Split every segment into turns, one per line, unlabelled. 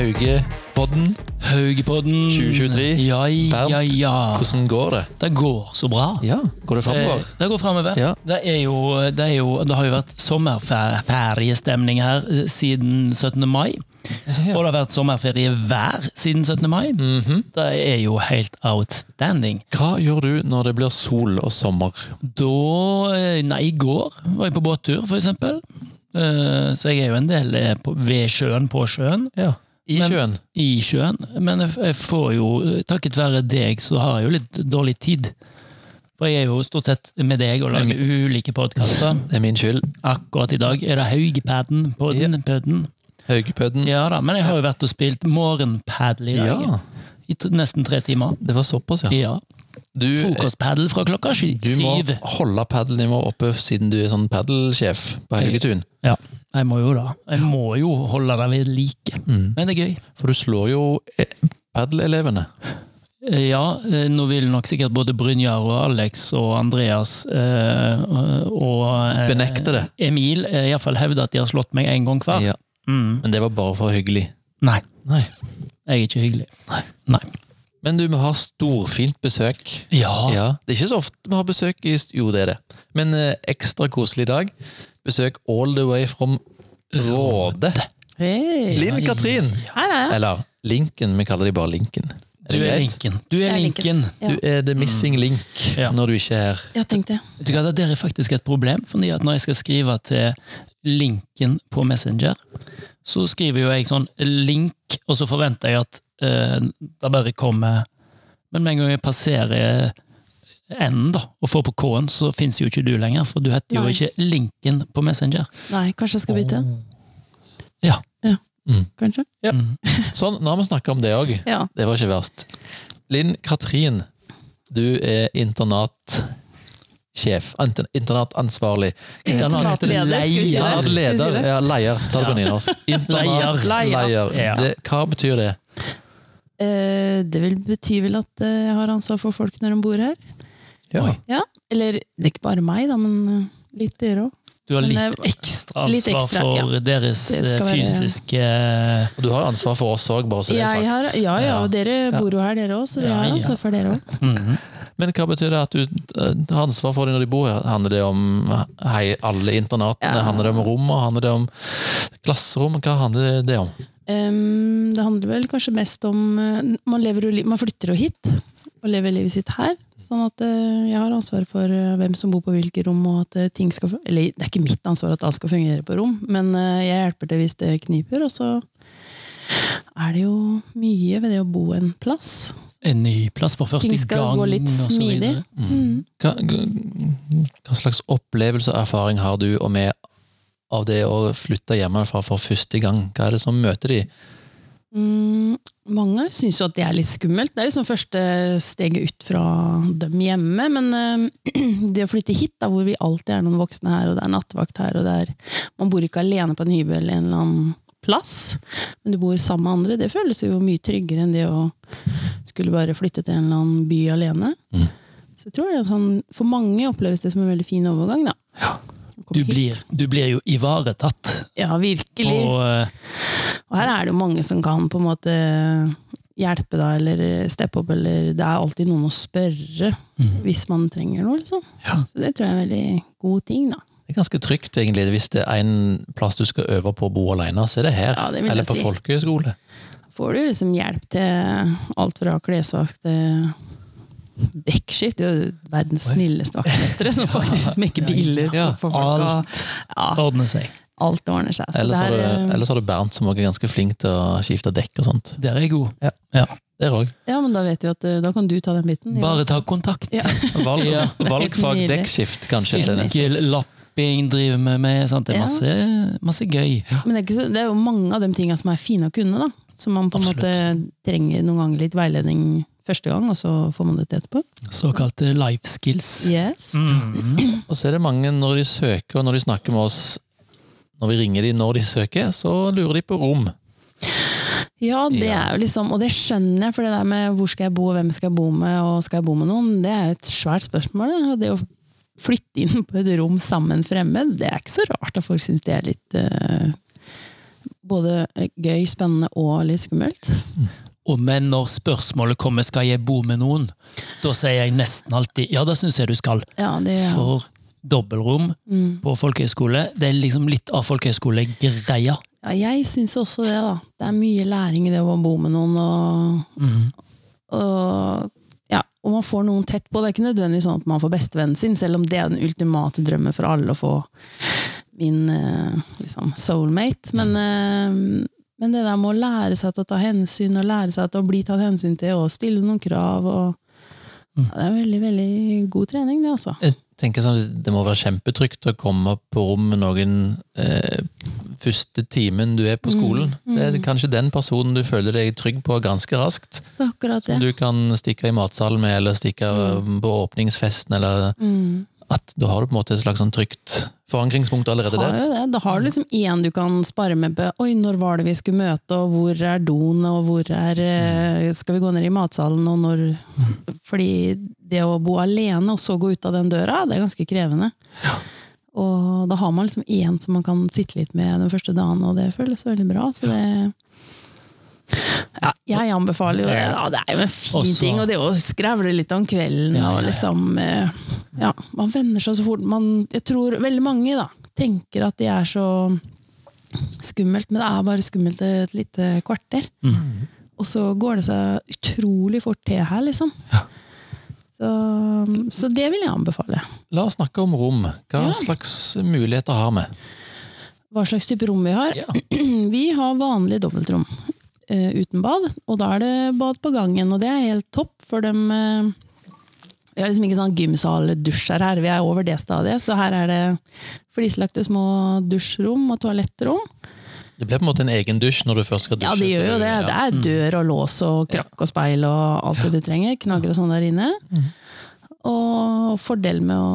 Haugepodden.
Haugepodden.
2023.
Ja,
Bernt.
ja, ja.
Hvordan går det?
Det går så bra.
Ja, Går det
Eh,
framover?
Det går fremover.
Ja.
Det, er jo, det, er jo, det har jo vært sommerferiestemning her eh, siden 17. mai. Og det har vært sommerferie hver siden 17. mai.
Mhm.
Det er jo helt outstanding.
Hva gjør du når det blir sol og sommer?
Da eh, Nei, i går var jeg på båttur, for eksempel. Eh, Så jeg er jo en del eh, på, ved sjøen, på sjøen.
Ja, I
Men-
sjøen?
i sjøen, men jeg, jeg får jo, takket være deg, så har jeg jo litt dårlig tid. For jeg er jo stort sett med deg og lager ulike podkaster.
Det er min skyld.
Akkurat i dag er det Haugepadden. Podden, podden.
Mm. Haugepodden.
Ja da, men jeg har jo vært og spilt morgenpadel i dag.
Ja.
I t nesten tre timer.
Det var såpass, ja.
Ja.
Du, eh,
Frokostpadel fra klokka sy
du må
syv.
holde padelnivået oppe siden du er sånn padelsjef på Haugetun.
Ja, jeg må jo da. Jeg må jo holde det ved like.
Mm.
Men det er gøy.
For du slår jo eh, padelelevene.
Ja, eh, nå vil nok sikkert både Brynjar og Alex og Andreas eh, og eh,
Benekter det.
Emil eh, i hvert fall hevder at de har slått meg en gang hver.
Ja.
Mm.
Men det var bare for hyggelig.
Nei,
Nei.
jeg er ikke hyggelig.
Nei.
Nei.
Men du, vi har storfint besøk.
Ja.
Ja, Det er ikke så ofte vi har besøk i st- Jo, det er det. Men eh, ekstra koselig i dag. Besøk all the way from Råde.
Hei.
Linn Katrin!
Hei, hei.
Eller Linken. Vi kaller de bare Linken.
Du er
greit?
linken. Du er
Jeg er
linken.
linken. Ja.
Du er the missing link
Ja.
når du ikke er her.
Jeg tenkte
Vet Du hva, det der er faktisk et problem, fordi at når jeg skal skrive til linken på Messenger, så skriver jo jeg sånn link, og så forventer jeg at eh, det bare kommer Men med en gang jeg passerer N-en da, og får på K-en, så fins jo ikke du lenger, for du heter jo
Nei.
ikke Linken på Messenger.
Nei, kanskje jeg skal bytte?
Oh.
Ja.
Kanskje?
Ja.
Mm.
Sånn, nå har vi snakka om det òg.
Ja.
Det var ikke verst. Linn Katrin, du er internatsjef. Ant- Internatansvarlig.
Internatleder,
Internatleder, skal vi si
leier.
det?
Internatleder.
Skal vi si det?
Ja, leier. Ta det på nynorsk.
Leier.
Internatleier.
Ja.
Det- Hva betyr det?
Eh, det vil bety vel at eh, jeg har ansvar for folk når de bor her.
Ja.
Ja. Eller det er ikke bare meg, da, men eh, litt dere òg.
Du har
Men
litt
det-
ekstra
litt
ansvar
ekstra,
for deres
Det
eh,
skal være-
fysiske eh,
Og du har ansvar for oss òg, bare så det er
Jeg har-
sagt.
Ja, ja, og dere
Ja.
bor jo her, dere òg, så vi
Ja,
har
ja.
ansvar for dere òg.
Mhm.
Men hva betyr det at du eh, har ansvar for dem når de bor her? Handler det om eh, hei, alle internatene?
Ja.
Handler det om rom? og Handler det om klasserom? Hva handler det om?
Em, Ehm, det handler vel kanskje mest om eh, man, lever, jo li- man flytter jo hit og lever livet sitt her. Sånn at eh, jeg har ansvar for eh, hvem som bor på hvilke rom. og at eh, ting skal... fun- Eller det er ikke mitt ansvar at alt skal fungere på rom, men eh, jeg hjelper til hvis det kniper. Og så er det jo mye ved det å bo en plass.
En ny plass for første
Ting
gang.
skal gå litt
og så
smidig.
videre.
Mm.
Hva, hva slags opplevelse og erfaring har du og med av det å flytte hjemmefra for første gang? Hva er det som møter de?
Mm, mange syns jo at det er litt skummelt. Det er liksom første steget ut fra dem hjemme. Men eh, det å flytte hit, da, hvor vi alltid er noen voksne her, og det er nattevakt her, og det er, man bor ikke alene på en hybel en eller annen plass, men du bor sammen med andre, det føles jo mye tryggere enn det å skulle bare flytte til en eller annen by alene.
Mm.
Så jeg tror det er sånn, For mange oppleves det som en veldig fin overgang. da. Å komme
Du
hit.
blir, du blir jo ivaretatt
Ja, virkelig.
på eh,
Og her er det jo mange som kan på en måte hjelpe deg, eller steppe opp, eller det er alltid noen å spørre hvis man trenger noe, liksom.
Mm. Ja.
Så det tror jeg er en veldig god ting, da.
Det er ganske trygt, egentlig. Hvis det er en plass du skal øve på å bo alene, så er det her.
Ja, det vil jeg
Eller på
si.
folkehøyskole.
Får du liksom hjelp til alt fra klesvask til dekkskift. Du er jo verdens
Oi.
snilleste vaktmestere som faktisk smekker biler
Ja,
på folk.
alt.
Og, ja,
ordne seg.
alt ordner seg. Så
Ellers
det
har,
er,
du,
eh,
ellers har du Bernt, som også er ganske flink til å skifte dekk og sånt.
Der er jeg god.
Ja. Der òg.
ja, men da vet vi at eh, da kan du ta den biten. ja.
Bare ta kontakt.
Ja.
Valg,
Ja.
Valgfag
Nydelig.
dekkskift, kanskje. eller det.
Sykkellapping driver vi med. Sant? Det er
Ja.
masse, masse gøy.
Men det er, ikke så, det er jo mange av de tinga som er fine å kunne, da. Som man på en
Absolutt.
måte trenger noen ganger litt veiledning første gang, og så får man det til etterpå.
Såkalte eh, life skills.
Yes.
Mm.
Og så er det mange, når de søker og når de snakker med oss, når vi ringer de når de søker, så lurer de på rom.
Ja, det
Ja.
er jo liksom, og det skjønner jeg, for det der med hvor skal jeg bo, og hvem skal jeg bo med, og skal jeg bo med noen, det er jo et svært spørsmål. Da. Og det å flytte inn på et rom sammen med en fremmed, det er ikke så rart at folk syns det er litt eh, både eh, gøy, spennende og litt skummelt.
Og men når spørsmålet kommer skal jeg bo med noen, da sier jeg nesten alltid ja, da syns jeg du skal.
Ja, det
For dobbeltrom
Mm.
på folkehøyskole, det er liksom litt av folkehøyskolegreia.
ja, jeg syns også det, da. Det er mye læring i det å bo med noen. Og,
Mm.
og, ja, og man får noen tett på. Det er ikke nødvendigvis sånn at man får bestevennen sin, selv om det er den ultimate drømmen for alle å få min eh, liksom, soulmate. Men, eh, men det der med å lære seg til å ta hensyn, og lære seg til å bli tatt hensyn til, og stille noen krav og ja, Det er veldig, veldig god trening, det, altså.
Jeg tenker sånn, at Det må være kjempetrygt å komme på rom med noen eh, første timen du er
Mm,
på skolen. Det er kanskje den personen du føler deg trygg på ganske raskt.
Det er akkurat det.
Som du kan stikke i matsalen med, eller stikke eh, på åpningsfesten, eller
Mm.
at da har du på en måte et slags sånn trygt forankringspunkt allerede
Har
der.
jo det. Da har du liksom én du kan spare med på Oi, når var det vi skulle møte, og hvor er doen, og hvor er eh, Skal vi gå ned i matsalen, og når Fordi det å bo alene, og så gå ut av den døra, det er ganske krevende. Og da har man liksom én som man kan sitte litt med den første dagen, og det føles veldig bra. Så det ja, jeg anbefaler jo det. Ja, det er jo en fin
Også-
ting, og det å skravle litt om kvelden
Ja, ja,
og
ja.
liksom eh, Ja, man venner seg så fort. Man, jeg tror veldig mange da, tenker at det er så skummelt, men det er bare skummelt et lite kvarter.
Mm.
Og så går det seg utrolig fort til her, liksom. Så, så det vil jeg anbefale.
La oss snakke om rom. Hva
Ja.
slags muligheter har vi?
Hva slags type rom vi har?
Ja.
Vi har vanlig dobbeltrom eh, uten bad, og da er det bad på gangen, og det er helt topp for dem eh, Vi har liksom ikke sånn gymsal eller dusjer her, vi er over det stadiet, så her er det flislagte små dusjrom og toalettrom.
Det blir på en måte en egen dusj når du først skal dusje.
Ja, det gjør
så-
jo det.
ja. Mm.
Det er dør og lås og krakk og speil og alt det du trenger. Knagger og sånn der inne.
Mm.
Og fordel med å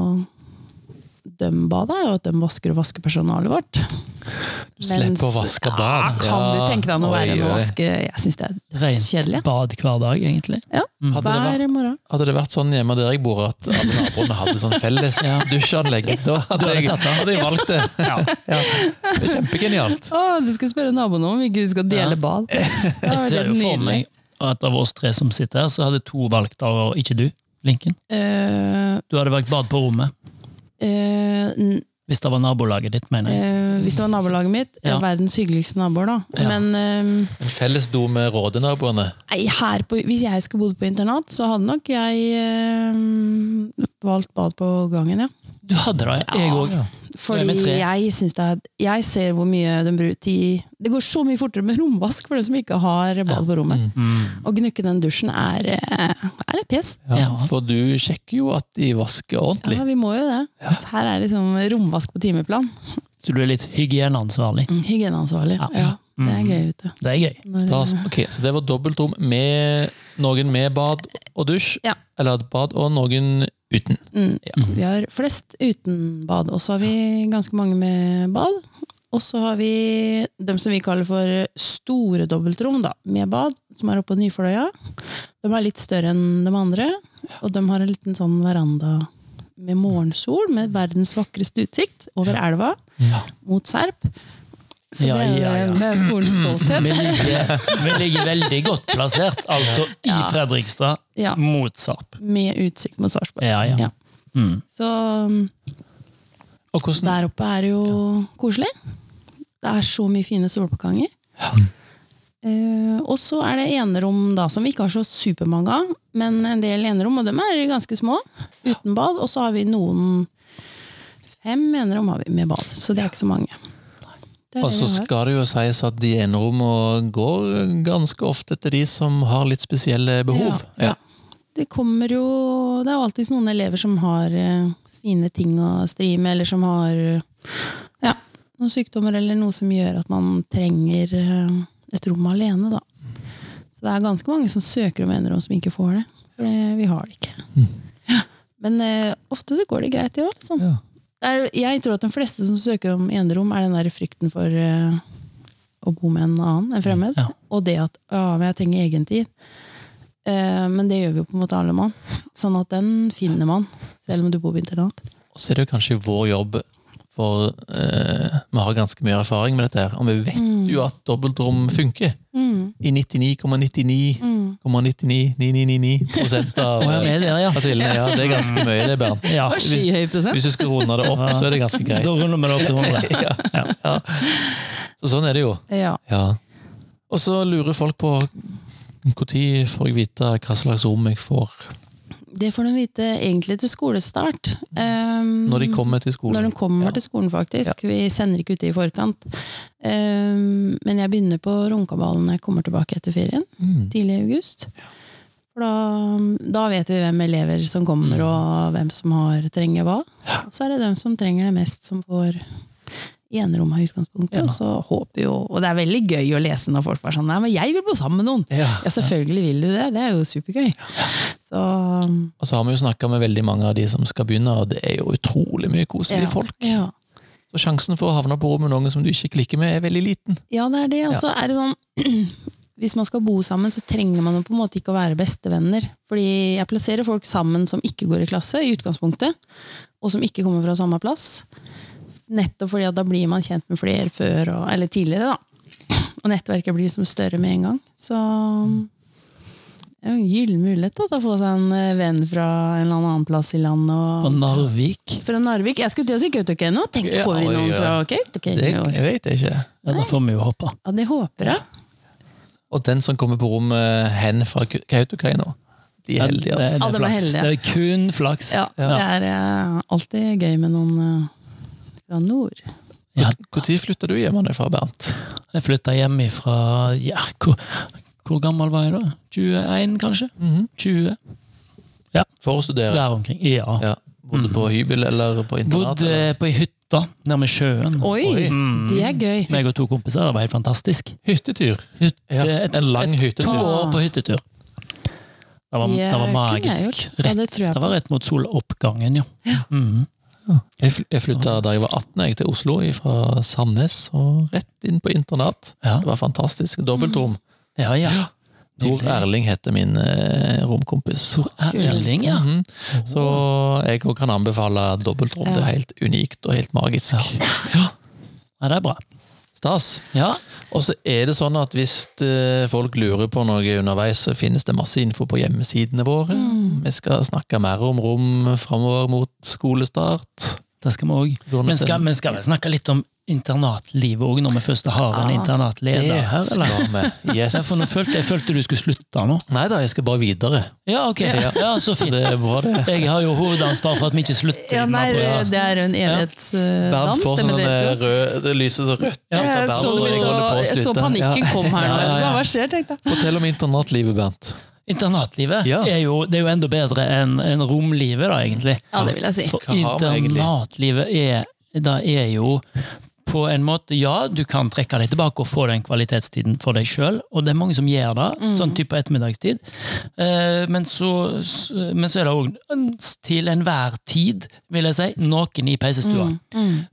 dømme badet er jo at de vasker og vasker personalet vårt.
Du slipper å
Mens-
vaske bad.
Ja, Ah, kan du
Ja.
tenke deg noe
Oi,
verre enn å
oi.
vaske? Jeg syns det er kjedelig.
Rent bad hver dag, egentlig.
Ja,
Hadde det vært-
hver morgen.
Hadde det vært sånn hjemme der jeg bor, at alle naboene hadde sånn felles dusjanlegg, da hadde jeg, hadde jeg valgt det. Ja. Det er kjempegenialt.
Å, du skal spørre naboene om ikke vi skal dele bad.
Jeg ser jo for meg at av oss tre som sitter her, så hadde to valgt av, og ikke du, Linken.
Eh,
Du hadde valgt bad på rommet,
eh, n-
hvis det var nabolaget ditt, mener jeg.
eh, hvis det var nabolaget mitt,
Ja.
verdens hyggeligste naboer, da.
Ja.
Men ehm,
En felles do med rådenaboene.
Nei, her på, Hvis jeg skulle bodd på internat, så hadde nok jeg eh, valgt bad på gangen, ja.
Du hadde det, jeg
Ja.
òg.
Fordi
med tre.
jeg synes det er, jeg ser hvor mye de bruker tid Det går så mye fortere med romvask for de som ikke har bad på
Mm.
rommet.
Mm.
Å gnukke den dusjen er, eh, er litt pes.
Ja,
Ja.
for du sjekker jo at de vasker ordentlig.
Ja, vi må jo det. Her er liksom romvask på timeplan.
Så du er litt hygieneansvarlig.
Hygieneansvarlig.
Ja.
Ja. Det er gøy ute.
Det er gøy.
Stas. Ok, så det var dobbeltrom med noen med bad og dusj,
Ja.
eller bad og noen uten.
Mm. Vi har flest uten bad, og så har vi ganske mange med bad. Og så har vi dem som vi kaller for store dobbeltrom, da, med bad, som er oppe på Nyfløya. De er litt større enn de andre, og de har en liten sånn veranda med morgensol, med verdens vakreste utsikt over elva, mot Serp. Så
Ja,
det, er, jo
ja, ja.
det er skolens
Vi
stolthet.
ligger, vi ligger veldig godt plassert, altså i Fredrikstad,
Ja.
mot Sarp.
Med utsikt mot Sarpsborg.
Ja, ja.
Ja.
Mm.
Så um,
Og hvordan,
Der oppe er det jo koselig. Det er så mye fine solpåkanger. Eh, og så er det enerom da, som vi ikke har så supermange av, men en del enerom, og dem er ganske små, uten bad. Og så har vi noen fem enerom har vi med bad, så det er ikke så mange. Det er
og så
det vi har.
altså, skal det jo sies at de enerommene går ganske ofte til de som har litt spesielle behov.
Ja, ja. Det kommer jo Det er jo alltid noen elever som har eh, sine ting å stri med, eller som har eh, ja, noen sykdommer eller noe som gjør at man trenger eh, et rom alene, da. Så det er ganske mange som søker om enerom som ikke får det. For det, vi har det ikke. Ja. Men eh, ofte så går det greit, det òg, liksom.
Ja.
Det er, jeg tror at de fleste som søker om enerom, er den der frykten for eh, å bo med en annen, en fremmed.
Ja.
Og det at ja, men jeg trenger egentid. Eh, men det gjør vi jo på en måte alle mann. Sånn at den finner man, selv om du bor på internat.
Og så er det jo kanskje vår jobb for eh, vi har ganske mye erfaring med dette, her, og vi vet jo at dobbeltrom funker.
Mm.
I 99,99,9999
Mm.
prosent av
Å, ja, vi er der, ja.
av trillene. Ja, det er ganske mye, det, Bernt.
Ja.
Det var skyhøy prosent.
Hvis du skal runde det opp, så er det ganske
Da
greit.
runder vi det opp til 100.
Ja. Så sånn er det jo.
Ja.
Ja. Og så lurer folk på når får jeg vite hva slags rom jeg får
Det får de vite egentlig til skolestart. Um,
når de kommer til
Når
skolen?
de kommer
Ja.
til skolen, faktisk. Vi sender ikke ut det i forkant. Um, men jeg begynner på Runkaballen når jeg kommer tilbake etter ferien.
Mm.
Tidlig i august. For da, da vet vi hvem elever som kommer,
Mm.
og hvem som har trenger hva. Og Så er det dem som trenger det mest, som får enerommet i utgangspunktet.
Ja.
Og så håper jo Og det er veldig gøy å lese når folk er sånn Nei, men jeg vil bo sammen med noen!
Ja.
Ja, selvfølgelig vil du det. Det er jo supergøy. Så
Og så har vi jo snakka med veldig mange av de som skal begynne, og det er jo utrolig mye koselige
ja.
folk.
Ja.
Så sjansen for å havne på rom med noen som du ikke klikker med, er veldig liten.
Ja, det er det. Og så er det sånn Hvis man skal bo sammen, så trenger man jo på en måte ikke å være bestevenner. Fordi jeg plasserer folk sammen som ikke går i klasse, i utgangspunktet. Og som ikke kommer fra samme plass. Nettopp fordi at da blir man kjent med flere før, og, eller tidligere, da. Og nettverket blir som større med en gang. Så det er jo en gyllen mulighet da, til å få seg en eh, venn fra en eller annen plass i landet.
På
Og,
Narvik.
fra Narvik. Jeg skulle til å si Kautokeino. Tenk,
Ja,
får vi
oi,
noen
oi.
fra
Det,
Kautokeino?
jeg vet ikke.
Ja, da får vi jo håpe.
Ja, det håper jeg.
Og den som kommer på rommet hen fra Kautokeino, de er
Ja,
heldige,
det-
altså.
Ja, de er
flaks.
heldige.
Det er kun flaks.
Ja, det er eh, alltid gøy med noen eh, fra nord.
Ja,
Når flytta du hjemmefra, Bernt?
Jeg flytta hjem ifra ja, hvor, hvor gammel var jeg da? 21, kanskje? 20?
For å studere?
Der omkring. Ja.
Ja. Bodde på hybel eller på internat?
Bodde
eller?
på ei hytte nærme sjøen.
Oi,
Mm.
det er gøy.
Meg og to kompiser. Det var helt fantastisk.
Hyttetur.
Hytte,
Ja,
et,
en lang
to
hyttetur.
år på hyttetur. Det var,
Det
det var
eh, kunne jeg
magisk.
gjort. Ja, det tror jeg
det var rett mot soloppgangen, ja. Mhm.
Jeg fl- Jeg flytta da jeg var 18 jeg til Oslo fra Sandnes og rett inn på internat.
Ja.
Det var fantastisk. Dobbeltrom.
ja, ja.
Tor Erling heter min eh, romkompis.
Tor Erling, ja.
Mhm. Så jeg også kan anbefale dobbeltrom. Det er helt unikt og helt magisk. Ja.
ja. Det er bra.
Stas.
Ja,
Og så er det sånn at hvis eh, folk lurer på noe underveis, så finnes det masse info på hjemmesidene våre. Vi skal snakke mer om rom framover mot skolestart.
det skal vi òg.
Går det
Men
noe
skal,
sen-
men skal vi snakke litt om internatlivet òg, når vi først har en
Ja,
internatleder her, eller?
Det skal vi.
Ja,
Yes.
for nå følte, jeg følte du skulle slutte nå.
Nei da, jeg skal bare videre.
Ja, ok. Ja, så fint.
Det er bra, det.
Jeg har jo hovedansvar for at vi ikke slutter.
Ja,
innan
nei, det,
podcasten.
det er en
Bernt
evighetsdans,
får
det
sånn
med dere
eh,
to.
rød, det lyser så rødt.
Ja,
ut av
Jeg
Bernt,
så,
og jeg
det begynte
holder på
å-
å
jeg så
slutte.
panikken
Ja.
kom her nå.
eh. Ja, ja,
Så
ja.
hva skjer, tenkte jeg.
Fortell om internatlivet, Bernt.
Internatlivet
Ja.
er, jo, det er jo enda bedre enn enn romlivet, da, egentlig.
Ja, det vil jeg si.
For
Hva har vi egentlig?
internatlivet er, da er jo på en måte, Ja, du kan trekke deg tilbake og få den kvalitetstiden for deg sjøl, og det er mange som gjør det, sånn type ettermiddagstid. Eh, Men så, s- men så er det òg til enhver tid, vil jeg si, noen i peisestua.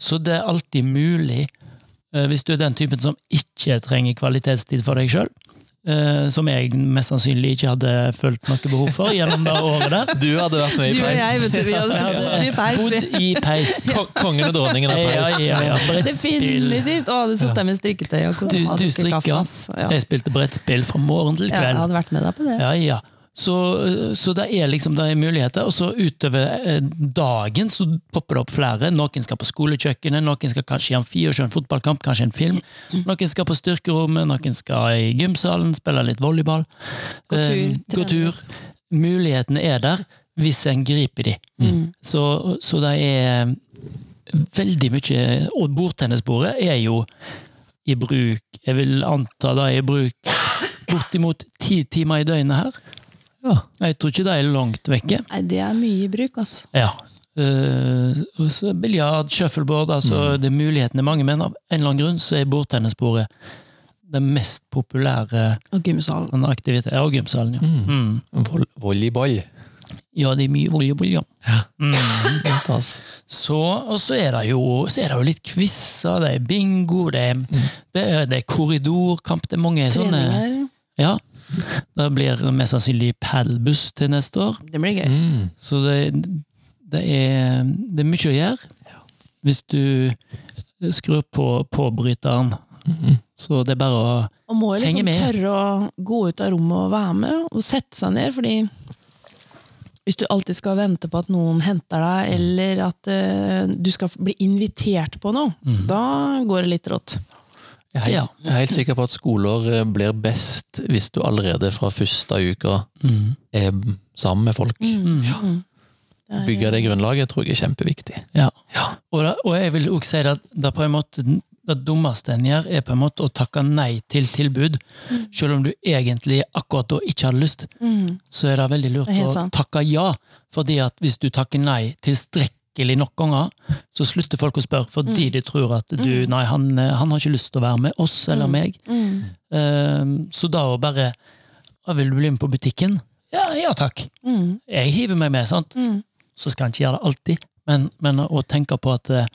Så det er alltid mulig, eh, hvis du er den typen som ikke trenger kvalitetstid for deg sjøl, som jeg mest sannsynlig ikke hadde følt noe behov for gjennom det året der.
Du hadde vært med
Du
i
og
peis.
jeg, vet du. Vi hadde
Jeg
bodd i
hadde
peis. vi.
bodd i peis.
Ko- Kongen og dronningen av
Ja,
peis.
ja, ja. Brettspill.
Definitivt! Å, hadde sittet der med strikketøy og
Du,
kosemat
du
og kaffe,
strikker.
ass. Ja.
Jeg spilte brettspill fra morgen til
Ja, jeg
kveld.
hadde vært med deg på det.
Ja, ja. Så, så det er liksom det er muligheter. Og så utover eh, dagen så popper det opp flere. Noen skal på skolekjøkkenet, noen skal kanskje i amfi og se en fotballkamp, kanskje en film. Noen skal på styrkerommet, noen skal i gymsalen, spille litt volleyball.
Gå tur,
Eh, Gå
trene
tur.
litt.
Mulighetene er der hvis en griper de. Så, så det er veldig mye Og bordtennisbordet er jo i bruk Jeg vil anta det er i bruk bortimot ti timer i døgnet her.
Ja.
Jeg tror ikke det er langt vekke.
Nei, det er mye i bruk, altså.
Ja. Eh, og så Biljard, shuffleboard, altså det er mulighetene mange, men av en eller annen grunn så er bordtennisbordet den mest populære
Og gymsalen.
sånn aktiviteten. Ja, og gymsalen, ja. Mm.
Vol- Volleyball.
Ja, det er mye volleyball, ja.
Det er Stas.
Så, og så er, det jo, så er det jo litt quizer, det er bingo, det er, det er, det er korridorkamp, det er mange sånne
Treninger.
Ja. Det blir mest sannsynlig padelbuss til neste år.
Det blir gøy.
Mm.
Så det, det, er, det er mye å gjøre. Hvis du skrur på påbryteren. Så det er bare å
Og må jo
Henger
liksom
med.
tørre å gå ut av rommet og være med, og sette seg ned, fordi hvis du alltid skal vente på at noen henter deg, eller at eh, du skal bli invitert på noe, da går det litt rått.
Jeg er, helt, jeg er helt sikker på at skoleår eh, blir best hvis du allerede fra første uka
mm.
er b- sammen med folk. Ja.
er-
Bygge det grunnlaget tror jeg er kjempeviktig.
Ja. Og, da, og jeg vil også si at det, på en måte, det dummeste en gjør, er på en måte å takke nei til tilbud.
Mm.
Selv om du egentlig akkurat da ikke har lyst, så er det veldig lurt
Det er helt
å
sant.
takke ja. Fordi at hvis du takker nei tilstrekkelig nok ganger, så slutter folk å spørre fordi
Mm.
de tror at du, nei, han, eh, han har ikke lyst til å være med oss eller
Mm.
meg. Ehm, så da å bare «Å, Vil du bli med på butikken? Ja, ja takk.
mm.
Jeg hiver meg med, sant? Så skal en ikke gjøre det alltid, men, men å tenke på at eh,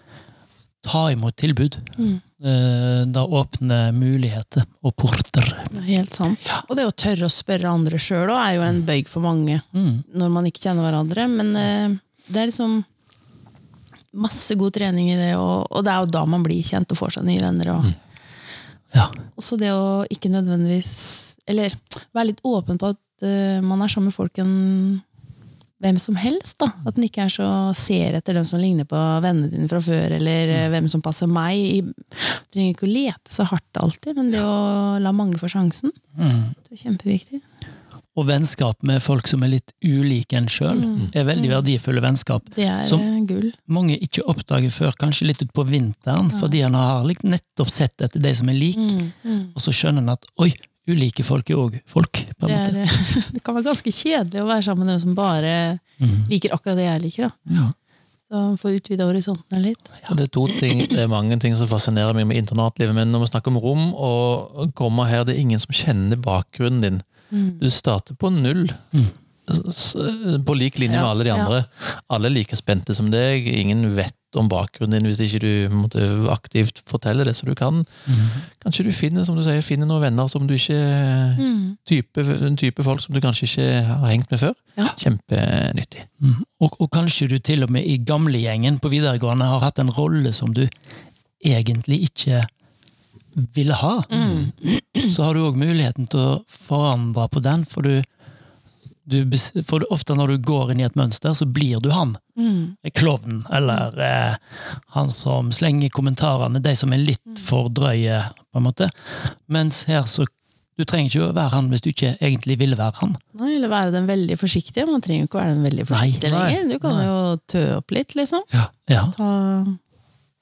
ta imot tilbud.
Mm.
Eh, da åpner muligheter og porter.
Det er Helt sant. Og det å tørre å spørre andre sjøl òg er jo en bøyg for mange. Når man ikke kjenner hverandre. Men eh, det er liksom masse god trening i det, og, og det er jo da man blir kjent og får seg nye venner. Og
Ja.
også det å ikke nødvendigvis Eller være litt åpen på at eh, man er sammen med folk en hvem som helst. da. At en ikke er så ser etter dem som ligner på vennene dine fra før, eller eh, hvem som passer meg. I- Trenger ikke å lete så hardt alltid, men det å la mange få sjansen, det er kjempeviktig.
Og vennskap med folk som er litt ulike en sjøl,
Mm.
er veldig verdifulle vennskap.
Det er
Som-
eh, gull.
Mange ikke oppdager før kanskje litt utpå vinteren, fordi en har likt- nettopp sett etter de som er like,
Mm.
og så skjønner en at oi, ulike folk er òg folk. på en
Det,
måte.
er, eh, det kan være ganske kjedelig å være sammen med dem som bare liker akkurat det jeg liker. da.
Ja.
Så Få utvida horisontene litt.
Og det er to ting, det er mange ting som fascinerer meg med internatlivet, men når vi snakker om rom og kommer her, det er ingen som kjenner bakgrunnen din.
Mm.
Du starter på null. S- s- På lik linje med alle de
ja.
andre. Alle er like spente som deg. Ingen vet om bakgrunnen din hvis ikke du måtte aktivt fortelle det som du kan. Kanskje du finner som du sier, finner noen venner som du ikke
Mm.
type, En type folk som du kanskje ikke har hengt med før.
Ja.
Kjempenyttig.
Mm. Og, og kanskje du til og med i gamlegjengen på videregående har hatt en rolle som du egentlig ikke ville ha. Så har du òg muligheten til å forandre på den, for du, du bes- For du- ofte når du går inn i et mønster, så blir du han.
Mm.
Klovnen, eller eh, han som slenger kommentarene, de som er litt for drøye, på en måte. Mens her så Du trenger ikke å være han hvis du ikke egentlig ville være han.
Nei, eller være den veldig forsiktige. Man trenger jo ikke være den veldig forsiktige
nei,
lenger. Du kan
nei.
jo tø opp litt, liksom.
Ja.
Ta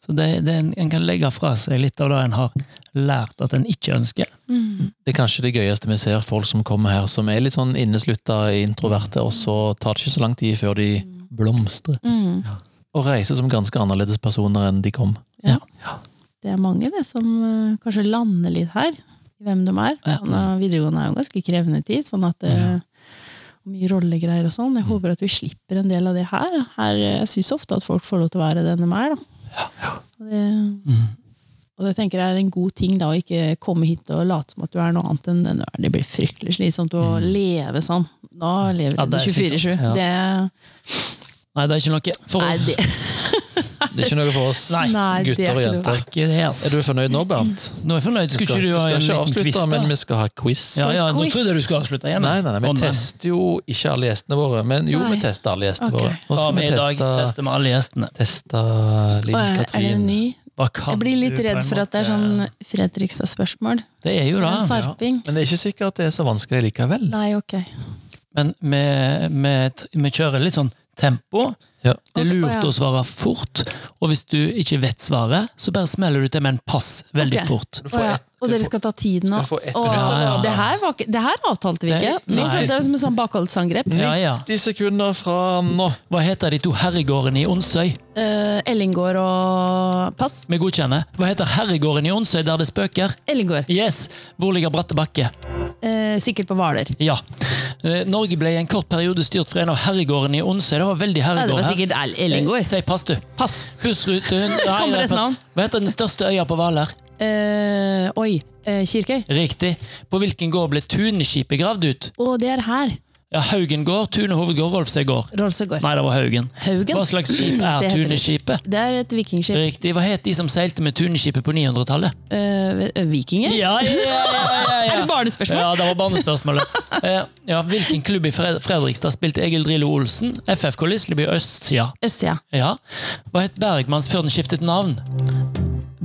Så det, det er en, en kan legge fra seg litt av det en har lært at en ikke ønsker.
Det er kanskje det gøyeste vi ser folk som kommer her, som er litt sånn inneslutta introverte, og så tar det ikke så lang tid før de blomstrer.
Mm.
Og reiser som ganske annerledes personer enn de kom.
Ja. Det er mange det som eh, kanskje lander litt her, i hvem de er.
Ja.
Sånn, og videregående er jo en ganske krevende tid, sånn at det og mye rollegreier og sånn.
Mm.
Jeg håper at vi slipper en del av det her. her eh, jeg syns ofte at folk får lov til å være den de er. Da. Og, det,
Mm.
og det tenker jeg er en god ting, da, å ikke komme hit og late som at du er noe annet enn den du er. Det blir fryktelig slitsomt å leve sånn. Da lever
Mm. Ja,
du
det er slitsomt,
24-7.
ja.
Det
Nei, det er ikke noe for
Nei,
oss.
det-
Det er ikke noe for oss
Nei.
Nei, det er
gutter og
ikke noe. Mm.
jenter.
Ikke det, ass.
Er du fornøyd nå, Bernt?
Nå er jeg fornøyd.
Vi
Skulle
skal,
ikke
vi
du ha
skal
en
ikke
liten
avslutte,
quiz, da?
men vi skal ha quiz.
Ja, ja, nå
Quiz.
trodde jeg du skulle avslutte igjen.
Nei, nei, nei, vi
Å,
tester jo ikke alle gjestene våre, men jo,
Nei.
vi tester alle gjestene
Ok.
våre. Nå
Ja,
skal
men
vi
I dag
teste,
tester vi alle gjestene.
teste Linn
Å, er det en
Katrin.
ny?
Hva kan
Jeg blir litt
du på en
redd for at det er
måte-
sånn Fredrikstad-spørsmål.
Det er jo
En
det.
sarping.
Men det er ikke sikkert at det er så vanskelig likevel.
Nei, ok.
Men vi, vi, vi kjører litt sånn tempo.
Ja.
Det er
Ok,
lurt
å, ja.
å svare fort, og hvis du ikke vet svaret, så bare smeller du til med en pass veldig
Ok.
fort.
Du
Å,
får
ja.
ett-
og
du
dere
får-
skal ta tiden nå?
du får ett
Å,
minutt.
Ja, ja, ja.
Det, her var ikke, det her avtalte vi
Det-
ikke. Nå
nei.
følte jeg det som et sånn bakholdsangrep.
Ja, ja.
90 sekunder fra nå.
Hva heter de to herregårdene i Onsøy?
Eh, Ellingård og Pass.
Vi godkjenner. Hva heter herregården i Onsøy der det spøker?
Ellingård.
Yes! Hvor ligger Bratte bakke?
Eh, sikkert på Hvaler.
Ja. Eh, Norge ble i en kort periode styrt fra en av herregårdene i Onsøy. Det var veldig
Nei, det
herregård
var
her. Eh,
sikkert El- Ellingård.
Si pass, du.
Pass.
Bussruten Nei,
Kommer
nei,
et
pass.
navn?
Hva heter den største øya på Hvaler?
Eh, oi. Eh, Kirkøy.
Riktig. På hvilken gård ble Tuneskipet gravd ut?
Å, det er her.
Ja, Haugen gård, Tune hovedgård, Rolfsøy gård.
Rolsegård.
Nei, det var Haugen.
Haugen.
Hva slags skip er
Det heter
Tuneskipet?
Det er et vikingskip.
Riktig. Hva het de som seilte med Tuneskipet på 900-tallet?
Eh, vikinger?
Ja, ja, ja, ja, ja, ja.
Er det barnespørsmål?
Ja, det var barnespørsmålet. Eh, ja, hvilken klubb i Fred Fredrikstad spilte Egil Drillo Olsen? FFK Lisleby Østsida.
Østsida.
Ja. Hva het Bergmanns før den skiftet navn?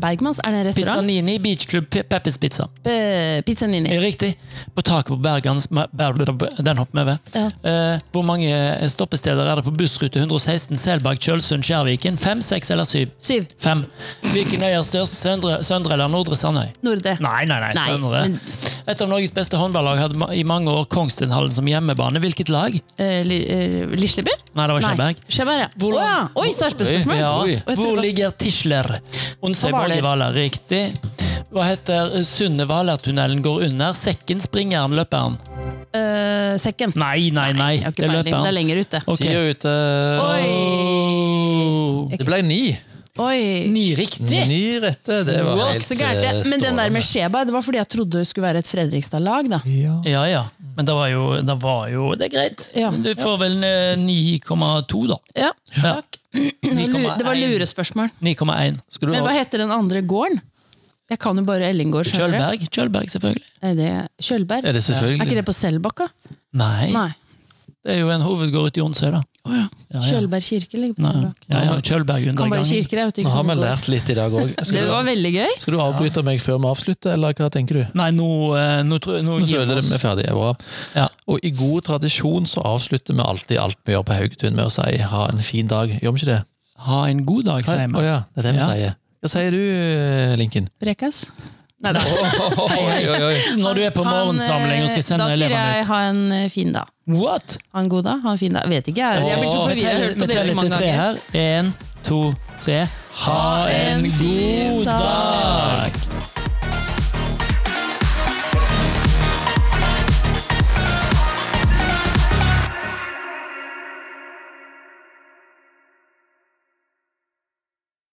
Bergmanns. Er det en
Pizza
restaurant?
Nini Beachklubb Pe- Peppers Pizza.
Eh, Pizza Nini.
Eh, Riktig. På taket på Bergans Den hopper vi over.
Ja.
Eh, hvor mange stoppesteder er det på bussrute 116 Selbakk, Kjølsund, Skjærviken? Fem, seks eller syv?
Syv.
Fem. Hvilken øy er størst? Søndre, søndre eller Nordre Sandøy?
Nordre.
Nei, nei, nei.
Nei,
Søndre.
men-
Et av Norges beste håndballag hadde ma- i mange år Kongsvinnhallen som hjemmebane. Hvilket lag?
Eh, Li- eh, Lisleby?
Nei, det var Skjærberg.
Skjærberg, ja.
Hvor-
Å ja. Oi, sarpsborg
Ja.
Oi.
jeg tror
Hvor
det var-
ligger Tisler? Onsøy
På Hvaler.
Borgehvaler, riktig. Hva heter Sunne Hvalertunnelen går under? Sekken, springeren, løperen?
Eh, sekken.
Nei, nei, nei.
Jeg har
Det
ikke
er
peiling. Det er
løperen.
lenger ute.
Ok.
Tida er ute.
Oi!
Det ble ni.
Oi.
Ni riktig!
Ni rette. Det var
Ikke
helt eh,
så gærent, det. Men den der med Skjeba, det var fordi jeg trodde det skulle være et Fredrikstad-lag, da.
ja.
Ja, ja. Men det var jo Det, var jo, det er greit.
Ja.
Du får vel eh, 9,2, da.
Ja.
Ja.
Lu- Det var
9,1.
lurespørsmål.
9,1.
Skulle
Men
du
hva
ha
heter den andre gården? Jeg kan jo bare Ellinggård. skjønner
Kjølberg, Kjølberg, selvfølgelig.
du. Er det Kjølberg?
Er det
Er ikke
selvfølgelig?
det på Selbakka?
Nei.
Nei.
Det er jo en hovedgård ute i Jonsøy, da.
Å ja.
Ja, ja.
Kjølberg kirke ligger på
Nei.
Selbakka.
Ja, ja. Kjølberg under
Kan bare
gangen.
kirker, jeg vet ikke.
Nå har vi
Selbakka.
lært litt i dag òg.
Det var veldig gøy.
Skal du avbryte meg før vi avslutter, eller hva tenker du?
Nei, nå, eh, nå, tror jeg- nå
Nå
gir
føler
vi
jeg vi
oss.
er ferdige. Bra.
Ja.
Og i god tradisjon så avslutter vi alltid alt vi gjør på Haugetun med å si 'ha en fin dag'. Gjør vi ikke det?
Ha en god dag, sier
Å
vi.
ja, det er det vi
Ja.
sier. Hva sier du, Linken?
Prekas.
Oi, oi, oi.
Når du er på
Han,
morgensamling og skal
eh,
sende
Da sier
elevene
jeg ha en eh, fin dag.
ut What?
Ha en god dag, ha en fin dag. Vet ikke, jeg. Jeg blir så
Åh,
forvirra. Jeg har hørt
vi
på dere
teller
så mange
til tre
ganger.
Her. En, to, tre. Ha en god